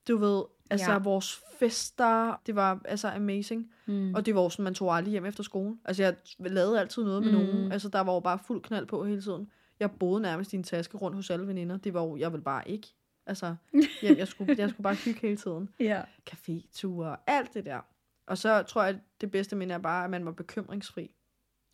du ved, altså, ja.
Ja.
vores fester, det var altså amazing.
Mm.
Og det var jo sådan, man tog aldrig hjem efter skolen. Altså, jeg lavede altid noget med mm.
Mm.
nogen. Altså, der var jo bare fuld knald på hele tiden. Jeg boede nærmest i en taske rundt hos alle veninder. Det var jo, jeg ville bare ikke.
[laughs]
Altså, jeg, jeg, skulle, jeg skulle bare hygge hele tiden.
Ja.
Caféture, alt det der. Og så tror jeg, at det bedste minde er bare, at man var bekymringsfri.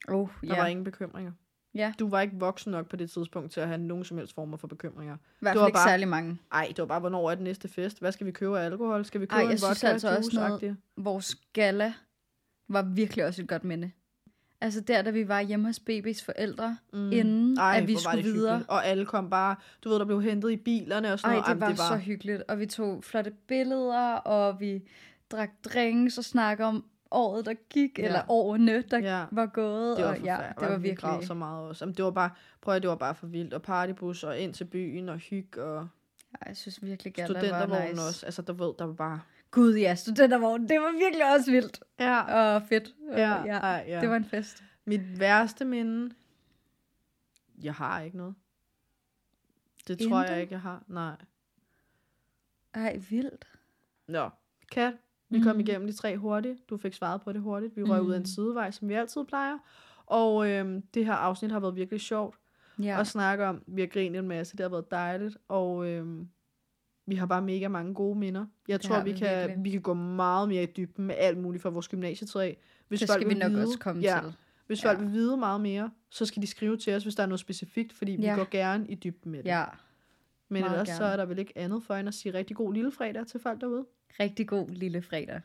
Oh,
Der
ja.
var
Var
ingen bekymringer.
Ja.
Du var ikke voksen nok på det tidspunkt til at have nogen som helst former for bekymringer.
I hvert
det
fald
var
ikke
bare-
særlig mange.
Ej, det var bare, hvornår er den næste fest? Hvad skal vi købe af alkohol? Skal vi købe
Ej, jeg
en
synes
vodka
altså også noget-
juice-agtig?
Vores gala var virkelig også et godt minde. Altså der, da vi var hjemme hos babys forældre, mm. inden Ej, at vi
hvor var
skulle
det
videre.
hyggeligt. Og alle kom bare, du ved, der blev hentet i bilerne og sådan
Ej,
noget.
det
Jamen,
var, det var så hyggeligt. Og vi tog flotte billeder, og vi drak drinks og snakkede om året, der gik,
Ja.
ja. eller årene, der
Ja.
ja. var gået.
det var
og ja,
forfærdeligt.
det var
Vi græd
virkelig...
så meget også. Jamen, det var bare, prøv at det var bare for vildt. Og partybus og ind til byen og hyg og
Ej, jeg synes virkelig,
ja,
gala var
studentervogn
nice.
nice. også. Altså, der ved, der var bare...
Gud ja, studentervogn. Det var virkelig også vildt
Ja,
og fedt. Og
ja, ej, ja.
øh, Det var en fest.
Mit værste minde... Jeg har ikke noget. Det tror jeg
Intet?
ikke, jeg har. Nej.
Ej, vildt.
Nå, Kat, vi kom
Mm.
igennem de tre hurtigt. Du fik svaret på det hurtigt. Vi røg ud af en
Mm.
sidevej, som vi altid plejer. Og øhm, det her afsnit har været virkelig sjovt.
Ja.
ja. og snakke om. Vi har grinet en masse, det har været dejligt, og øhm, vi har bare mega mange gode minder. Jeg
Det
tror,
har
vi
vi
kan,
virkelig.
vi kan gå meget mere i dybden med alt muligt fra vores gymnasietid af. Hvis
det
folk
skal vi
vil
nok
vide,
også komme
ja,
til.
Hvis folk
Ja.
vil vide meget mere, så skal de skrive til os, hvis der er noget specifikt, fordi vi
Ja.
går gerne i dybden med det.
Ja.
Men
meget
ellers så
gerne.
er der vel ikke andet for end at sige rigtig god lille fredag til folk derude.
Rigtig god lille fredag.